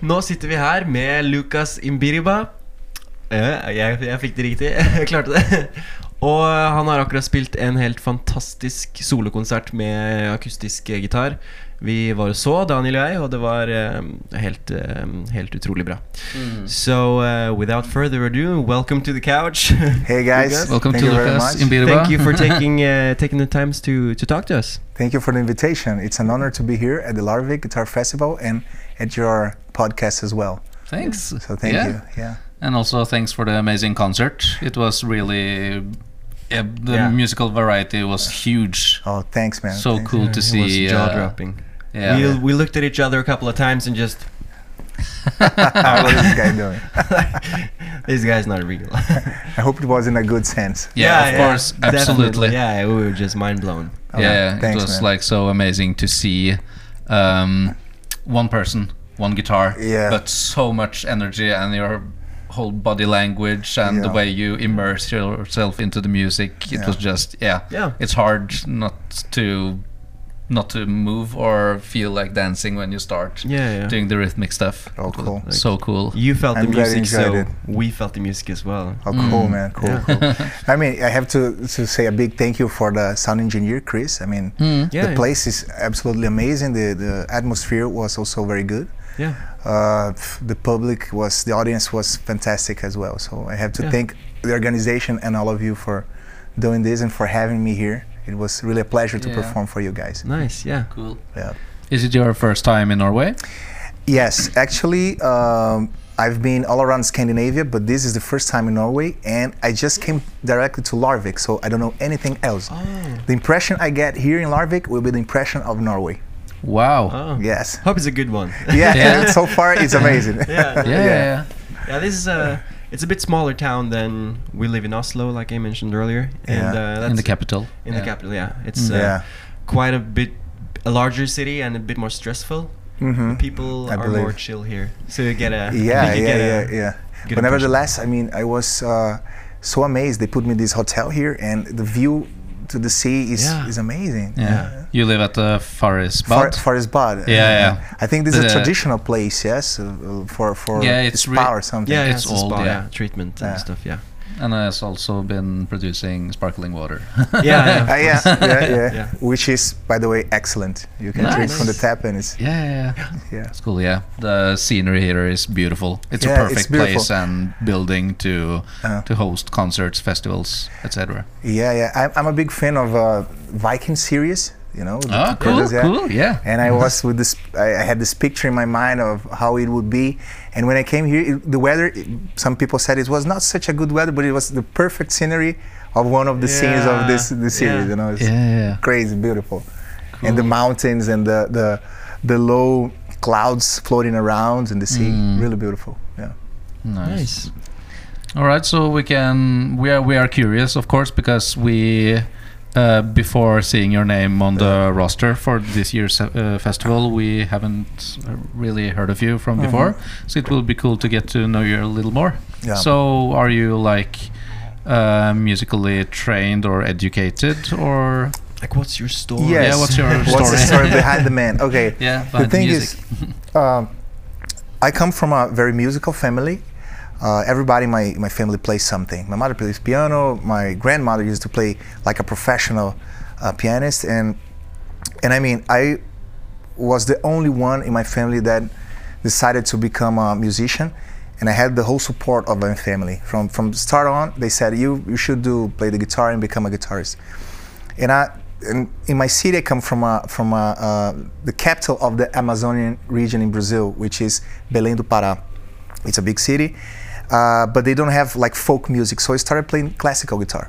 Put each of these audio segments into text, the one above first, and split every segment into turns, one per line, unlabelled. nå sitter vi her med Lucas Imbiriba. Eh, Jeg, jeg fikk det riktig. Jeg klarte det. Og han har akkurat spilt en helt fantastisk solokonsert med akustisk gitar. Vi var og så, Daniel og jeg, og det var eh, helt, eh, helt utrolig bra.
Mm.
So eh, without further ado, welcome to the couch.
Hey guys,
Welcome
thank
to
you uh, very
Lucas
much.
Imbiriba.
Thank you for taking, eh, taking the time to, to talk to us.
Thank you for the invitation. It's an honor to be here at the Larvik Guitar Festival and at your podcast as well.
Thanks.
So thank
Yeah.
you. Yeah.
And also thanks for the amazing concert. It was really yeah, the
Yeah.
musical variety was huge.
Oh, thanks, man.
So
Thanks.
cool to
It was
see. uh,
jaw dropping.
yeah.
We, we looked at each other a couple of times and just
Ah, what is this guy doing?
this guy's not real.
I hope it was in a good sense.
Yeah, of course,
definitely.
absolutely.
Yeah, we were just mind blown.
Okay,
yeah,
thanks,
it was
man.
like so amazing to see um, one person, one guitar,
Yeah.
but so much energy and your whole body language and the
Yeah.
way you immerse yourself into the music. It
Yeah.
was just yeah,
Yeah.
It's hard not to not to move or feel like dancing when you start
Yeah, yeah.
doing the rhythmic stuff.
Oh,
It was
cool.
So cool.
You felt
I'm
the
glad you
music, so
enjoyed
we felt the music as well.
Oh, cool,
mm.
man. Cool, cool. I mean, I have to, to say a big thank you for the sound engineer, Chris. I mean,
Hmm.
Yeah,
the
yeah.
place is absolutely amazing. The, the atmosphere was also very good.
Yeah,
Uh, f- the public was, the audience was fantastic as well. So I have to
Yeah.
thank the organization and all of you for doing this and for having me here. It was really a pleasure to
Yeah.
perform for you guys.
nice. Yeah.
Cool.
Yeah.
Is it your first time in Norway?
Yes, actually, um, I've been all around Scandinavia, but this is the first time in Norway, and I just came directly to Larvik, so I don't know anything else.
Oh.
The impression I get here in Larvik will be the impression of Norway.
Wow.
Oh.
Yes.
Hope it's a good one.
Yeah,
Yeah.
so far it's amazing.
Yeah.
Yeah, yeah.
yeah, this is a. It's a bit smaller town than we live in Oslo, like I mentioned earlier. And uh,
Yeah.
yeah.
that's
In the capital.
In
Yeah. Mm.
the capital, yeah. It's uh,
Yeah.
quite a bit a larger city and a bit more stressful.
Mhm.
People
I
are more
believe.
chill here, so you get a
yeah,
you
yeah,
get
yeah,
a-
yeah.
good
But nevertheless, I mean, I was uh, so amazed. They put me in this hotel here, and the view to the sea is,
Yeah.
is amazing.
Yeah. You live at the Forest
For,
Bad.
Forest Bad.
Yeah,
uh,
yeah.
I think this is
The-
a traditional place, yes, uh, uh, for for
Yeah, it's
spa
re-
or something.
yeah,
It's
it's, all
old,
spa,
yeah.
yeah. treatment
Yeah.
and stuff, yeah.
And has also been producing sparkling water.
Yeah,
Ah, yeah, yeah, yeah,
Yeah.
Which is, by the way, excellent. You can drink from the
Nice.
tap, and it's
yeah, yeah, yeah.
yeah,
It's cool, yeah. The scenery here is beautiful. It's a
Yeah, it's
perfect
beautiful.
place and building to
Uh.
to host concerts, festivals, etc.
yeah, yeah. I'm, I'm a big fan of uh, Viking series. You know, the
Ah, cool,
Kurdos, yeah.
cool, yeah.
And I was with this, I I had this picture in my mind of how it would be. And when I came here, it, the weather, it- some people said it was not such a good weather, but it was the perfect scenery of one of the scenes of this
Yeah,
the series.
yeah.
You know, it's
Yeah, yeah, yeah.
crazy, beautiful, and the mountains and the the the low clouds floating around and the sea, really beautiful. Yeah.
Nice.
Nice.
All right, so we can we are we are curious, of course, because we uh, before seeing your name on the roster for this year's uh, festival, we haven't uh, really heard of you from
Uh-huh.
before. So it will be cool to get to know you a little more.
Yeah.
So are you like uh, musically trained or educated or
Like, what's your story?
Yes.
yeah? What's your
What's
story?
the story behind the man? Okay.
yeah,
the
behind
thing
music.
is, um, I come from a very musical family. Uh, everybody in my, in my family plays something. My mother plays piano. My grandmother used to play like a professional uh, pianist, and and I mean I was the only one in my family that decided to become a musician, and I had the whole support of my family from from start on. They said you you should do play the guitar and become a guitarist and I and in my city I come from a, from a, uh, the capital of the Amazonian region in Brazil, which is Belém do Pará. It's a big city, uh, but they don't have like folk music, so I started playing classical guitar.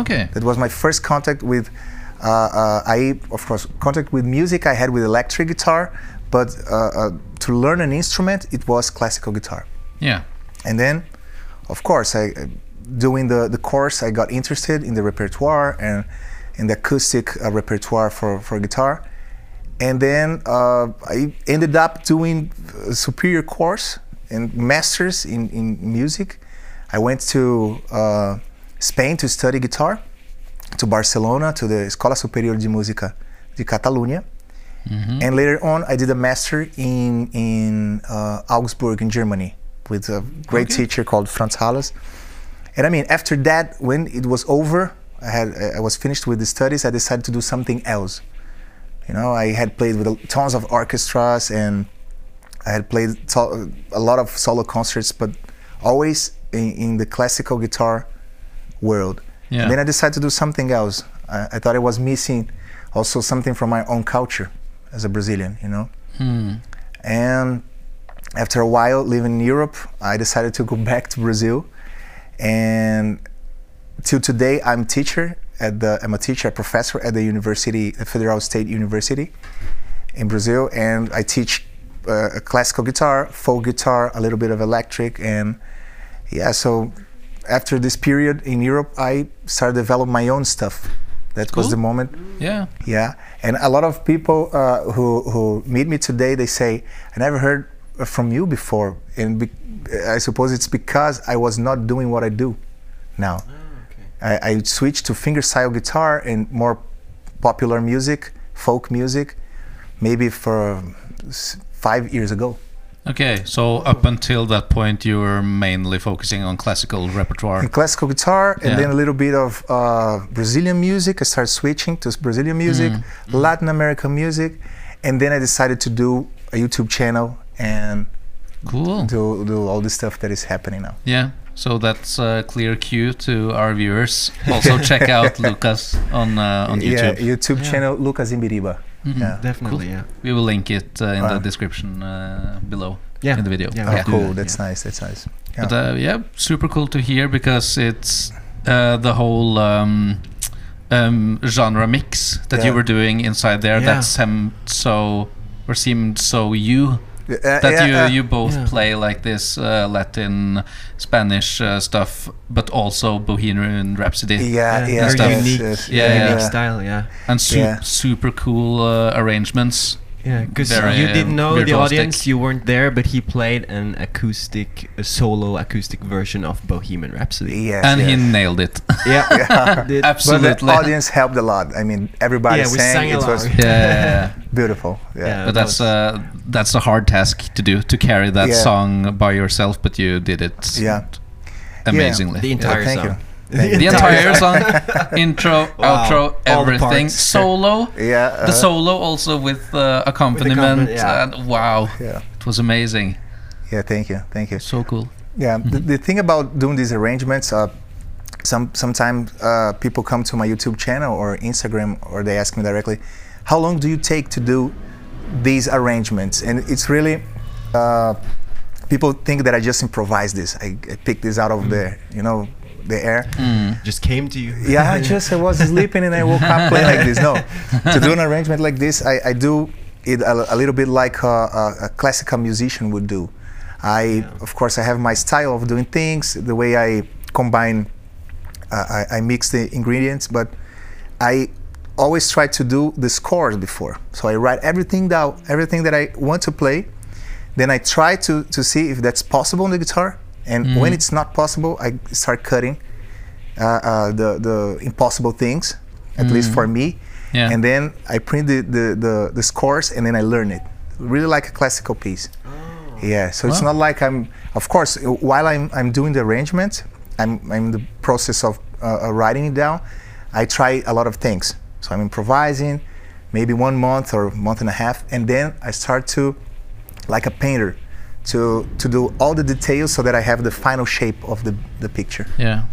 okay.
That was my first contact with. Uh, uh, I of course contact with music I had with electric guitar, but uh, uh, to learn an instrument it was classical guitar.
Yeah.
And then, of course, I doing the, the course, I got interested in the repertoire and in the acoustic uh, repertoire for, for guitar. And then uh, I ended up doing a superior course and masters in, in music. I went to uh, Spain to study guitar, to Barcelona, to the Escola Superior de Música de Catalunya. And later on, I did a master in in uh, Augsburg in Germany with a great teacher called Franz Halles. And I mean, after that, when it was over, I had I was finished with the studies. I decided to do something else. You know, I had played with tons of orchestras and I had played to- a lot of solo concerts, but always in, in the classical guitar world.
Yeah.
And then I decided to do something else. I, I thought I was missing also something from my own culture as a Brazilian, you know.
hmm,
And after a while living in Europe, I decided to go back to Brazil. And till today, I'm teacher at the I'm a teacher, a professor at the university, the Federal State University in Brazil, and I teach uh, classical guitar, folk guitar, a little bit of electric, and yeah. So after this period in Europe, I started developing my own stuff. That was
Cool.
the moment.
Yeah.
Yeah, and a lot of people uh, who who meet me today, they say, "I never heard from you before," and be- I suppose it's because I was not doing what I do now. I, I switched to fingerstyle guitar and more popular music, folk music, maybe for s- five years ago.
Okay. So up until that point, you were mainly focusing on classical repertoire.
And classical guitar, and
Yeah.
then a little bit of uh, Brazilian music. I started switching to Brazilian music, Latin American music, and then I decided to do a YouTube channel and
Cool.
do, do all the stuff that is happening now.
Yeah. So that's a clear cue to our viewers. Also check out Lucas on uh, on
Yeah,
YouTube.
YouTube channel Lucas Imbiriba. Yeah.
Definitely,
Cool.
yeah.
We will link it uh, in the
Uh.
description uh, below
Yeah.
in the video.
Yeah,
Oh,
we'll do
cool.
that,
That's
yeah.
nice. That's nice. Yeah.
But uh, yeah, super cool to hear because it's uh, the whole um, um, genre mix that you
Yeah.
were doing inside there.
Yeah.
That seemed so or seemed so you
Yeah,
that
Uh, yeah,
you
yeah.
you both
Yeah.
play like this uh, Latin, Spanish uh, stuff, but also Bohemian Rhapsody
yeah, yeah,
Very
stuff.
unique,
yes, yes,
Yeah,
unique
yeah.
style, yeah.
and su-
Yeah.
super cool uh, arrangements.
Yeah, because
Very,
you
um,
didn't know the
virtuosistic.
audience, you weren't there, but he played an acoustic, a solo acoustic version of Bohemian Rhapsody.
Yes,
and
yes.
he nailed it.
Yeah, Did-
But the
Absolutely.
audience helped a lot. I mean, everybody
Yeah, we
sang.
sang
it was
along.
Yeah, yeah, yeah.
beautiful.
Yeah.
Yeah.
but that's uh, that's a hard task to do to carry that
Yeah.
song by yourself. But you did it.
Yeah.
amazingly.
the entire
thank
song.
you.
The entire song, intro,
Wow.
outro,
All the
everything,
parts.
solo.
Yeah,
the
uh,
solo also with uh, accompaniment.
yeah.
and wow,
Yeah.
it was amazing.
Yeah. Thank you. Thank you.
So cool.
Yeah, the, the thing about doing these arrangements, uh, some sometimes uh, people come to my YouTube channel or Instagram, or they ask me directly, "How long do you take to do these arrangements?" And it's really, uh, people think that I just improvise this. I, I pick this out of the, you know, the air.
Just came to you.
Yeah, I just I was sleeping and I woke up playing like this. No, to do an arrangement like this, I, I do it a, a little bit like a, a, a classical musician would do. I, of course, I have my style of doing things, the way I combine, uh, I, I mix the ingredients, but I always try to do the scores before. So I write everything down, everything that I want to play. Then I try to, to see if that's possible on the guitar. And when it's not possible, I start cutting uh, uh, the, the impossible things, at least for me.
Mm. Yeah.
And then I print the, the, the, the scores and then I learn it. Really like a classical piece. Yeah, so it's
Wow.
not like I'm. Of course, uh, while I'm I'm doing the arrangement, I'm I'm in the process of uh, uh, writing it down. I try a lot of things. So I'm improvising, maybe one month or month and a half, and then I start to, like a painter, to to do all the details so that I have the final shape of the the picture.
Yeah,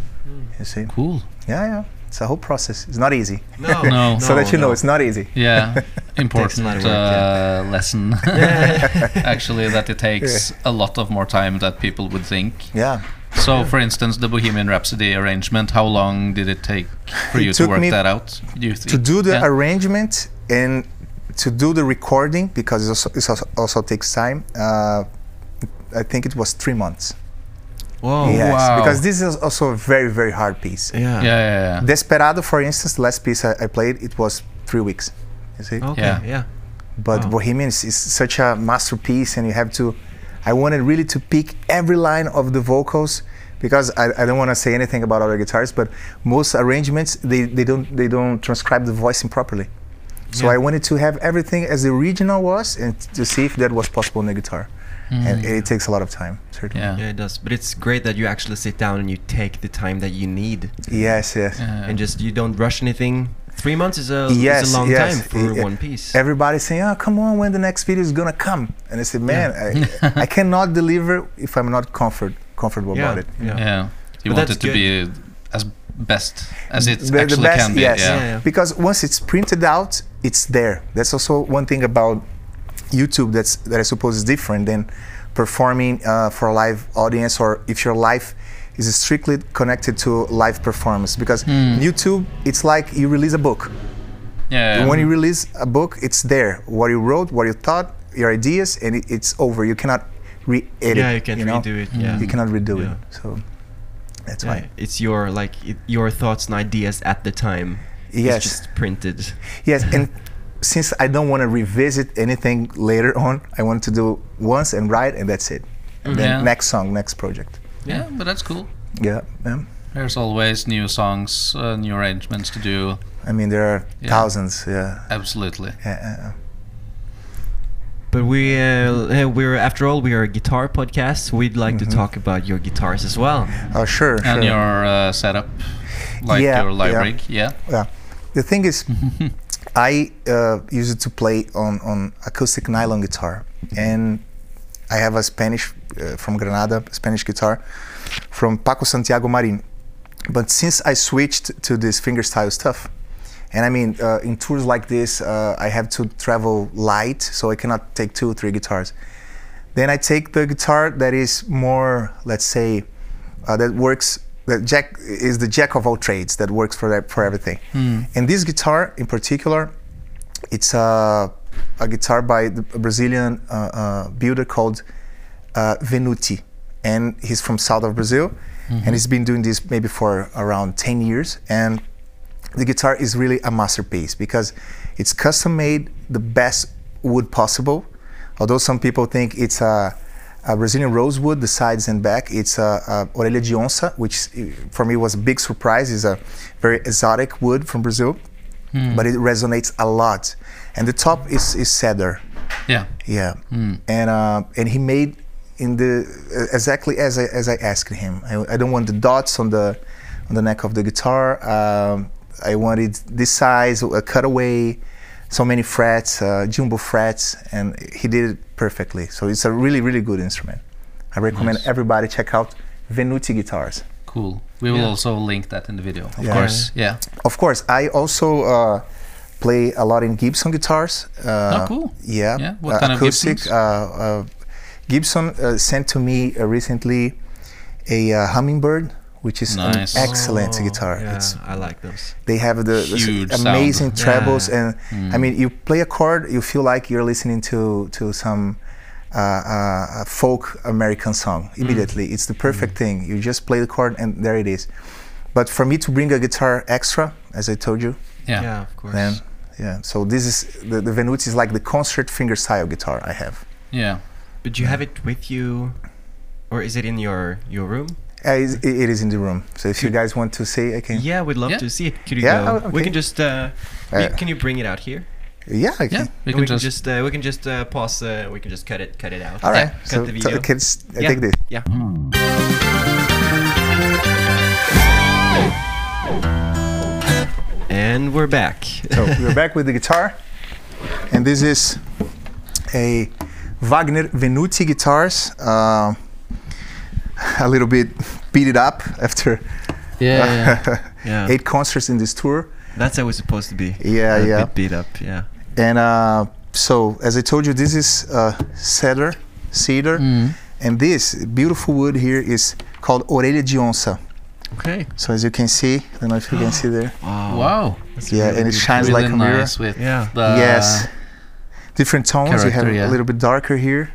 You see?
cool.
Yeah, yeah. It's a whole process. It's not easy.
No,
No.
so that you know,
no.
it's not easy.
Yeah,
Takes a lot
important
of work, yeah.
uh, lesson. Actually, that it takes a lot of more time that people would think.
Yeah.
So, for instance, the Bohemian Rhapsody arrangement. How long did it take for
It
you to
took
work
me
that out? Do you think?
to do the
Yeah.
arrangement and to do the recording because it also, it also, also takes time uh, i think it was three months
Whoa.
Yeah.
Yeah.
Oh, wow.
because this is also a very very hard piece
Yeah.
yeah, yeah, yeah.
desperado for instance the last piece I, I played it was three weeks you see
Okay.
Yeah.
Yeah.
but
wow.
bohemian is, is such a masterpiece and you have to i wanted really to pick every line of the vocals because i, I don't want to say anything about other guitars but most arrangements they, they don't they don't transcribe the voicing properly So I wanted to have everything as the original was, and to see if that was possible on the guitar.
Mm.
And it takes a lot of time, certainly.
Yeah.
Mm. Yeah, it does. But it's great that you actually sit down and you take the time that you need,
Yes, yes.
Yeah.
and just you don't rush anything. Three months is a
Yes,
is a long
yes. E,
time for
Yeah.
one piece.
Everybody's saying, "Oh, come on, when the next video is gonna come?" And I said, "Man, I, I cannot deliver if I'm not comfort, comfortable about it."
yeah.
Yeah. You
But
want
that's
it to be as best as it
The- the
actually
best-
can be.
yes.
Yeah.
Yeah, yeah.
Because once it's printed out, it's there. That's also one thing about YouTube that's that I suppose is different than performing uh, for a live audience or if your life is strictly connected to live performance. Because
Hmm.
YouTube, it's like you release a book.
Yeah.
when you release a book, it's there. What you wrote, what you thought, your ideas, and it, it's over. You cannot re-edit.
Yeah, you can
know?
redo
Hmm.
it. Yeah.
You cannot redo
Yeah.
it. So that's
Yeah,
why.
It's your like it, your thoughts and ideas at the time.
Yes.
It's just printed.
Yes, and since I don't want to revisit anything later on, I want to do once and write, and that's it. And then
Yeah.
next song, next project.
yeah, but that's cool.
Yeah. yeah.
There's always new songs, uh, new arrangements to do.
I mean, there are
Yeah.
thousands. Yeah.
Absolutely.
yeah.
But we uh, uh, we're after all we are a guitar podcast. We'd like
Mm-hmm.
to talk about your guitars as well.
yeah. Oh, sure.
And
sure.
your uh, setup, like
Yeah,
your live
yeah.
rig. Yeah.
Yeah. The thing is, I uh, used to play on, on acoustic nylon guitar, and I have a Spanish uh, from Granada, Spanish guitar from Paco Santiago Marin. But since I switched to this fingerstyle stuff, and I mean, uh, in tours like this, uh, I have to travel light, so I cannot take two or three guitars. Then I take the guitar that is more, let's say, uh, that works. That jack is the jack of all trades that works for that, for everything. And this guitar in particular, it's a, a guitar by the a Brazilian uh, uh, builder called uh, Venuti, and he's from south of Brazil, and he's been doing this maybe for around 10 years. And the guitar is really a masterpiece because it's custom made the best wood possible. Although some people think it's a, a Brazilian rosewood, the sides and back, it's a, a orelha de onça, which eh, for me was a big surprise. It's a very exotic wood from Brazil, but it resonates a lot. And the top is, is cedar.
Yeah.
Yeah, and uh, and he made in the exactly as I as I asked him. I, I don't want the dots on the on the neck of the guitar. Um, I wanted this size, a cutaway, so many frets, uh, jumbo frets, and he did it perfectly. So it's a really really good instrument. I recommend everybody check out Venuti guitars.
Cool. We will also link that in the video, of
Yeah.
course. Yeah.
Of course, I also. Uh, Play a lot in Gibson guitars. Uh,
Oh, cool.
Yeah.
Yeah, what kind of
acoustic,
Gibsons?
uh, uh, Gibson uh, sent to me uh, recently a uh, hummingbird, which is
Nice.
an excellent
Oh,
guitar.
Yeah,
It's,
I like those.
they have the, the s-
Huge sound.
amazing
Yeah. Mm.
trebles, and I mean, you play a chord, you feel like you're listening to to some. Uh, uh, folk American song
Mm.
immediately. It's the perfect thing. You just play the chord and there it is. But for me to bring a guitar extra, as I told you,
Yeah.
Yeah, of course.
then yeah. So this is the, the Venuti is like the concert finger style guitar I have.
Yeah.
But you have it with you, or is it in your your room?
Uh, it's- it it is in the room. So if you guys want to see, I can.
Yeah, we'd love
Yeah.
to see it. Could you
Yeah,
go?
oh,
We
okay.
can just. Uh, we-
Uh,
can you bring it out here?
Yeah, I
Yeah.
can.
We
We
can just.
uh, we can just uh, pause. Uh, we can just cut it cut it out.
All right.
Cut
So,
the
so
video.
I can s- I
Yeah.
take this.
Yeah. And we're back.
So we're back with the guitar, and this is a Wagner Venuti guitars. Um a little bit beat it up after
yeah. yeah.
Yeah.
eight concerts in this tour.
That's how it's supposed to be.
Yeah,
A
yeah.
bit beat up. Yeah.
And uh, so, as I told you, this is uh, cedar, cedar,
Mm.
and this beautiful wood here is called orelha de onça.
Okay.
So as you can see, I don't know if you can see there.
Wow.
Wow.
That's
Yeah,
really
and it
beautiful.
shines
really
like a mirror.
nice with
Yeah.
the.
yes, different tones. You have
Uh, character, yeah.
a little bit darker here.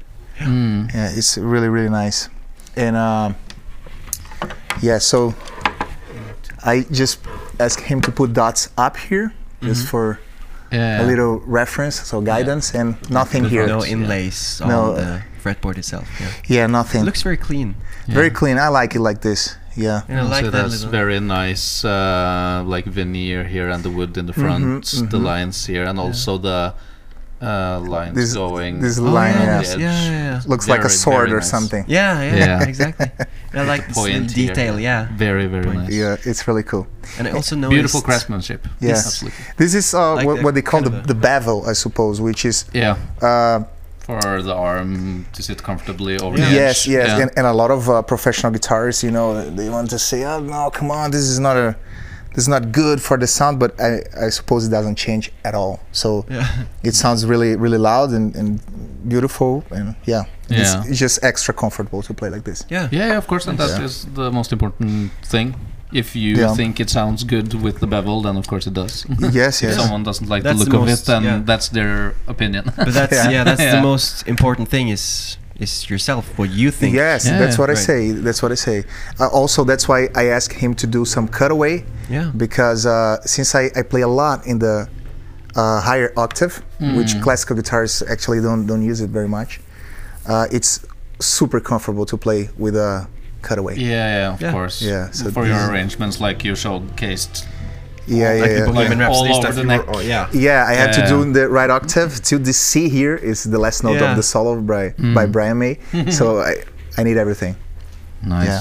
Mm.
Yeah, it's really really nice. And um, yeah, so I just asked him to put dots up here just
Mm-hmm.
for
Yeah.
a little reference, so guidance, and nothing here.
No inlays
No, uh,
on the fretboard itself. Yeah.
Yeah, nothing.
It looks very clean.
Very clean. I like it like this. yeah.
Yeah, I like
Oh, so
that
that's
little-
very nice, uh, like veneer here and the wood in the front, the
mhm.
lines here, and also the uh, lines
This-
going.
this
on
line,
the
Oh, yeah.
yeah.
yes,
edge.
yeah, yeah,
Looks like a
Very,
sword
very
or
nice.
something.
yeah, yeah,
Yeah.
exactly. I like
The
this little
point here,
detail, yeah.
Very, very
Point.
nice.
Yeah, it's really cool.
And I also noticed
Beautiful craftsmanship.
Yeah.
absolutely.
This is uh,
Like
what,
a
what they call the,
kind of a-
the bevel, I suppose, which is
Yeah,
uh,
for the arm to sit comfortably over the
yes,
edge.
yes,
Yeah.
and, and a lot of uh, professional guitarists, you know, they want to say, "Oh no, come on, this is not a, this is not good for the sound," but I, I suppose it doesn't change at all. So
Yeah.
it sounds really, really loud and, and beautiful, and yeah,
Yeah.
It's, it's just extra comfortable to play like this.
Yeah.
Yeah, yeah, of course, and that
Yeah.
is the most important thing. If you
Yeah.
think it sounds good with the bevel, then of course it does.
yes,
If
yes.
someone doesn't like
That's
the
the
look
most-
of it, then
yeah.
that's their opinion.
But that's yeah,
Yeah.
that's the
Yeah.
most important thing is is yourself, what you think.
Yes,
Yeah,
that's what I
right.
say. That's what I say. Uh, also, that's why I asked him to do some cutaway
Yeah.
because uh, since I, I play a lot in the uh, higher octave,
Mm.
which classical guitarists actually don't don't use it very much, uh, it's super comfortable to play with a cutaway.
yeah, yeah, of
Yeah.
course.
Yeah, so
For
this
your
is-
arranged, like you showcased.
yeah, yeah.
Like the
yeah.
Bohemian
Like all
Rhapsody
over
stuff.
the
you
neck.
were- oh, yeah.
Yeah, I had to do
Yeah.
in the right octave to the C here is the last note
Yeah. Mm.
of the solo by by Brian May. so I, I need everything.
Nice.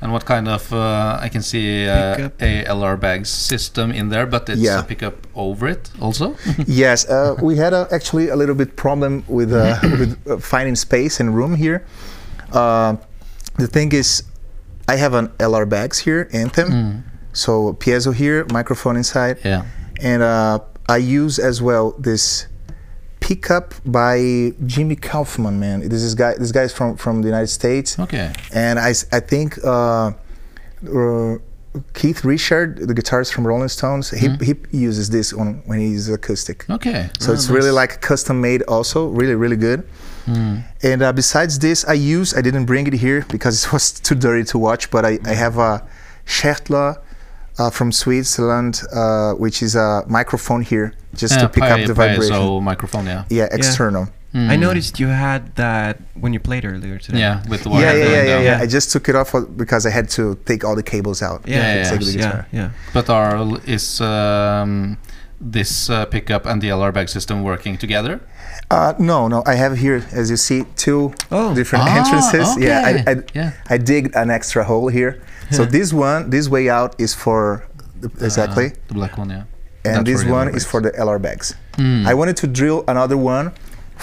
And what kind of uh, I can see uh,
Pickup.
ALR bags system in there, but it's
Yeah.
a pickup over it also.
yes, uh, we had a, actually a little bit problem with, uh, with uh, finding space and room here. Uh, the thing is, I have an LR bags here, Anthem. So piezo here, microphone inside,
yeah.
and uh, I use as well this pickup by Jimmy Kaufman. Man, this is guy. This guy is from from the United States
Okay.
and I, s- I think uh, uh, Keith Richard, the guitarist from Rolling Stones, he, he uses this on when he's acoustic.
Okay.
So it's really like custom made, also really really good.
Hmm.
And uh, besides this, I use I didn't bring it here because it was too dirty to watch, but I, I have a Schertler uh, from Switzerland, uh, which is a microphone here just
Yeah,
to pick
Uh, pi-
up the vibration.
piezo microphone. Yeah. Hmm.
Yeah, external.
I noticed you had that when you played earlier today.
Mm. Yeah, with the wire.
Yeah, yeah, yeah,
going
yeah,
down.
yeah. I just took it off uh, because I had to take all the cables out.
Yeah,
Yeah,
yeah,
yeah,
of
Take
course,
the
yeah,
guitar.
yeah.
But are is um, this uh, pickup and the LR bag system working together?
Uh, no, no. I have here, as you see, two
Oh.
different
Ah,
entrances. Yeah, I, I,
okay. Yeah.
I dig an extra hole here. So this one, this way out is for the- exactly,
Uh, the black one, yeah.
and
That's
this
where the
one
LR
is
bags.
for the LR bags. I wanted to drill another one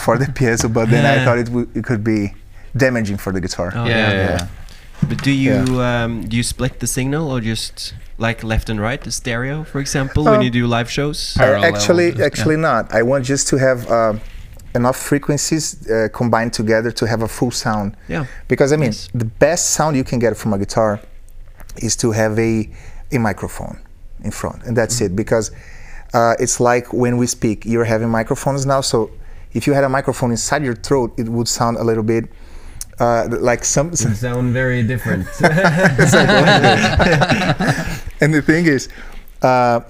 for the piezo, but then I thought it, w- it could be damaging for the guitar.
Oh,
yeah, yeah,
yeah.
yeah.
But do you um, do you split the signal or just like left and right, the stereo, for example, when
Um,
you do live shows?
Uh,
Parallel,
actually,
yeah.
actually not. I want just to have uh, enough frequencies uh, combined together to have a full sound.
Yeah.
Because I mean,
Yes.
the best sound you can get from a guitar is to have a a microphone in front, and that's it. Because uh, it's like when we speak, you're having microphones now. So if you had a microphone inside your throat, it would sound a little bit uh, like some
Sound very different.
And the thing is, uh,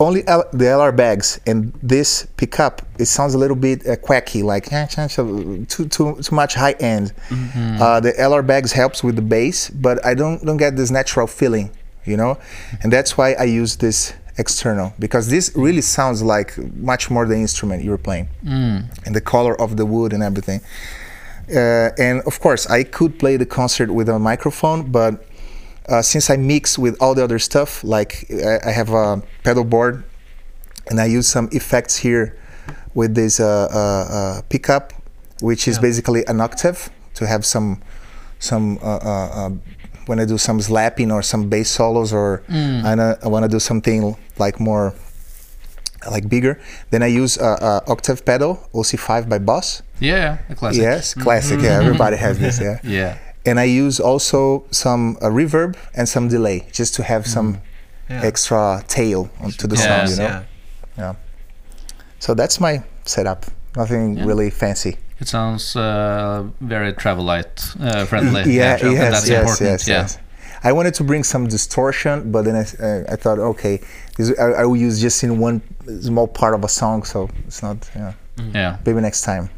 only L- the LR bags and this pickup, it sounds a little bit uh, quacky, like eh, ch- ch- too, too, too much high end. Uh, the LR bags helps with the bass, but I don't, don't get this natural feeling, you know? And that's why I use this external, because this really sounds like much more the instrument you're playing and the color of the wood and everything. Uh, and of course, I could play the concert with a microphone, but uh, since I mix with all the other stuff, like I, I have a pedal board and I use some effects here with this uh, uh, uh, pickup, which is basically an octave to have some some uh, uh, uh, when I do some slapping or some bass solos or I wanna- I want to do something like more like bigger. Then I use uh, uh, octave pedal OC5 by Boss.
Yeah, yeah, a classic.
Yes, classic. Yeah, everybody has this. Yeah
Yeah.
and I use also some uh, reverb and some delay just to have some
Yeah.
extra tail on, to the
Mm, Yeah.
sound,
Yes,
you know.
yeah.
So that's my setup. Nothing
Yeah.
really fancy.
It sounds uh, very travelite uh, friendly.
yeah,
sure, and
yes,
that's
yes,
important.
yes,
yeah.
yes. I wanted to bring some distortion, but then I, uh, I thought, okay, this, I, I will use just in one small part of a song, so it's not. Yeah,
yeah.
maybe next time.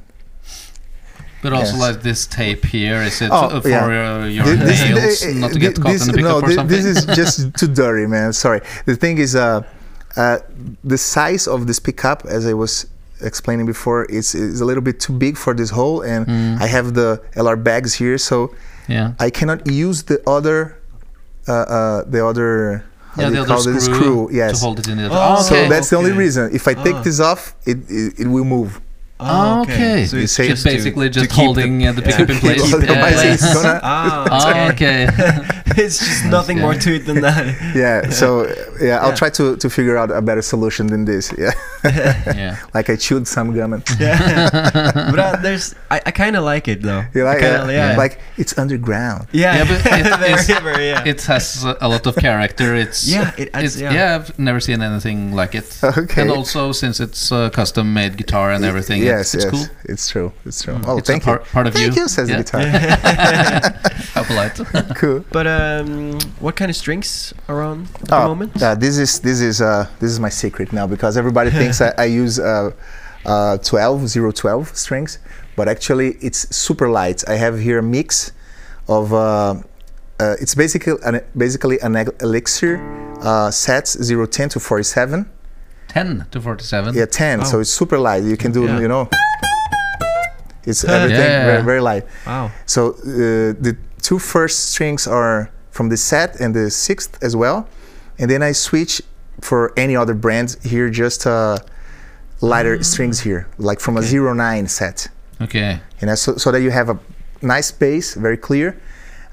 But also
Yes.
like this tape here, is it
Oh,
uh, for
yeah.
uh, your
Thi- this-
nails
thi-
not to
thi-
get caught
this-
in the pickup
no,
or
thi-
something?
This is just too dirty, man. Sorry. The thing is, uh, uh, the size of this pickup, as I was explaining before, it's, is a little bit too big for this hole, and
Mm.
I have the LR bags here, so
yeah.
I cannot use the other, uh, uh, the other, how
yeah,
do
the
you
other
call
screw,
this? Screw.
to
Yes.
hold it in the other.
Oh,
So
okay.
that's the only
Okay.
reason. If I take
Ah.
this off, it it, it will move.
Ah,
Oh, Okay.
So
You
it's
say-
just
just
to-
basically
to
just
keep the-
holding uh, the pickup in
Keep
place.
holding
Yeah,
my
yeah.
seat. It's gonna-
Ah,
Ah, okay.
it's just nothing more to it than that.
Yeah. So yeah, I'll
Yeah.
try to, to figure out a better solution than this. Yeah.
yeah.
like I chewed some gum and
Yeah. but uh, there's, I, I kind of like it though.
you
I
like,
kinda,
uh,
yeah.
like it's underground.
yeah.
Yeah, but it-
Very,
it's-
very, yeah.
It has uh, a lot of character. It's
Yeah, it adds-
it's,
yeah.
yeah. I've never seen anything like it.
Okay.
And also since it's uh, custom made guitar and everything,
yes,
it's, it's
yes,
cool. Hmm.
it's true. It's true. Oh,
It's a
thank
par-
you.
part of
thank
you.
you, says
Yeah.
the guitar.
How polite.
cool.
But um, what kind of strings are on at the
Oh,
moment?
uh, this is this is uh, this is my secret now because everybody thinks I, I use uh, uh, 12, 012 strings, but actually it's super light. I have here a mix of uh, uh, it's basically an, basically an el- elixir uh, sets 010 to 47.
10 to 47.
Yeah, 10. So
Oh.
it's super light. You can do,
Yeah.
you know, it's
Yeah.
everything very,
Yeah.
very light.
Wow.
So uh, the two first strings are from the set and the sixth as well. And then I switch for any other brand here, just uh, lighter
Mm.
strings here, like from a zero nine set.
Okay.
You know, so, so that you have a nice bass, very clear.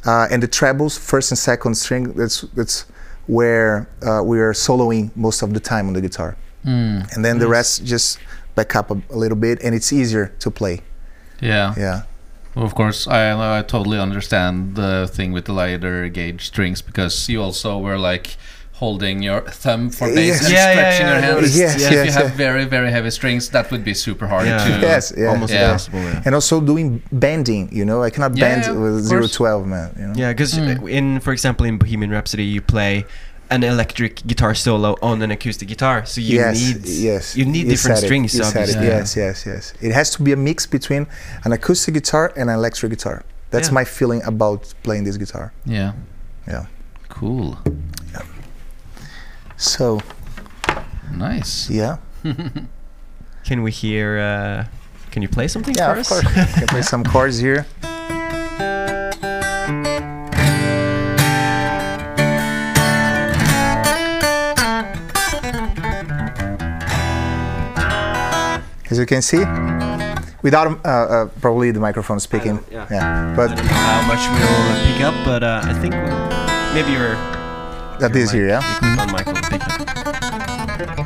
Uh, and the trebles, first and second string, that's, that's where uh, we are soloing most of the time on the guitar
Hmm.
Mm,
and then the rest just back up a, a little bit and it's easier to play
yeah.
yeah
Well, Of course, I, I totally understand the thing with the lighter gauge strings because you also were like holding your thumb for bass
Yes.
and
Yeah, yeah,
stretching
yeah, I
your
noticed,
hands.
Yes,
if you
yes,
have
yeah.
very, very heavy strings, that would be super hard
Yeah.
to.
Yes, yeah.
Almost
Yeah.
impossible. Yeah.
and also doing bending you know i cannot
Yeah,
bend
yeah,
with
of course.
012 man you know
Yeah, because in, for example, in Bohemian Rhapsody, you play an electric guitar solo on an acoustic guitar, so you
yes,
need
yes.
you need different
said it,
strings.
You said it.
obviously.
Yes, yes, yes. It has to be a mix between an acoustic guitar and an electric guitar. That's
Yeah.
my feeling about playing this guitar.
Yeah.
Yeah.
Cool.
So
Nice.
yeah,
Can we hear? Uh, can you play something
yeah,
for
of
us?
course. I can play some chords here. As you can see, without uh, uh, probably the microphone speaking,
don't- yeah.
but
I don't know how much we'll pick up, but uh, I think we- maybe your
that is here, yeah.
on mic will pick up.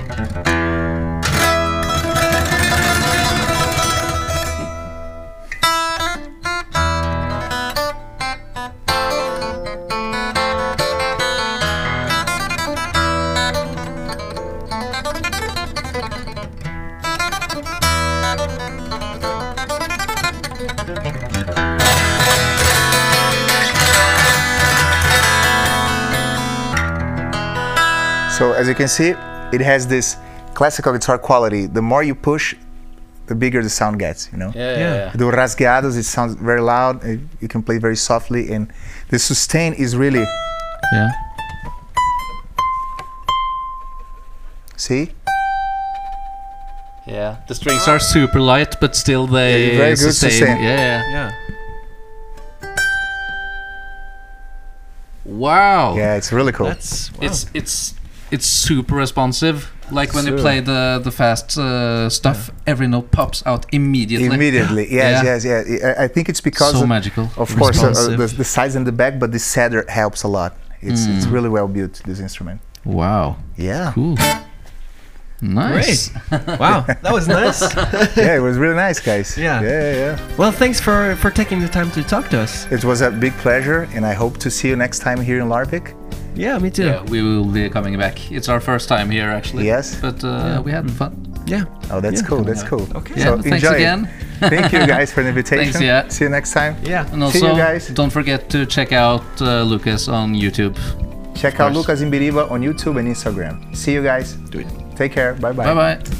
So as you can see, it has this classical guitar quality. The more you push, the bigger the sound gets, you know.
Yeah.
Yeah.
yeah.
Do rasgados, it sounds very loud. uh, You can play very softly, and the sustain is really
yeah.
see.
Yeah, the strings are super light, but still they
Yeah, very good
sustain.
sustain.
Yeah.
Yeah.
Wow.
Yeah, it's really cool.
That's wow.
It's it's it's super responsive. Like when you
Sure.
play the the fast uh, stuff, every note pops out immediately.
Immediately, yes,
Yeah.
yes, yes. I- I think it's because
so
of,
magical.
of course uh, uh,
responsive.
the, the sides and the back, but the cedar helps a lot. It's it's
Mm.
really well built this instrument.
wow.
Yeah,
Cool. Nice.
wow. That was nice.
yeah, it was really nice, guys.
Yeah.
yeah, yeah, yeah.
well, thanks for for taking the time to talk to us.
It was a big pleasure, and I hope to see you next time here in Larvik.
Yeah, me too.
Yeah, we will be coming back. It's our first time here, actually.
Yes.
But uh, we had fun.
Yeah.
Oh, that's
Yeah.
cool. That's
Yeah.
cool.
Okay.
Yeah.
So
thanks
enjoy.
again.
Thank you guys for the invitation.
yeah.
See you next time.
Yeah.
And
See you
also,
guys.
don't forget to check out uh, Lucas on YouTube.
Check out
course.
Lucas Imbiriba on YouTube and Instagram. See you guys.
Do it.
Take care. Bye bye.
Bye bye.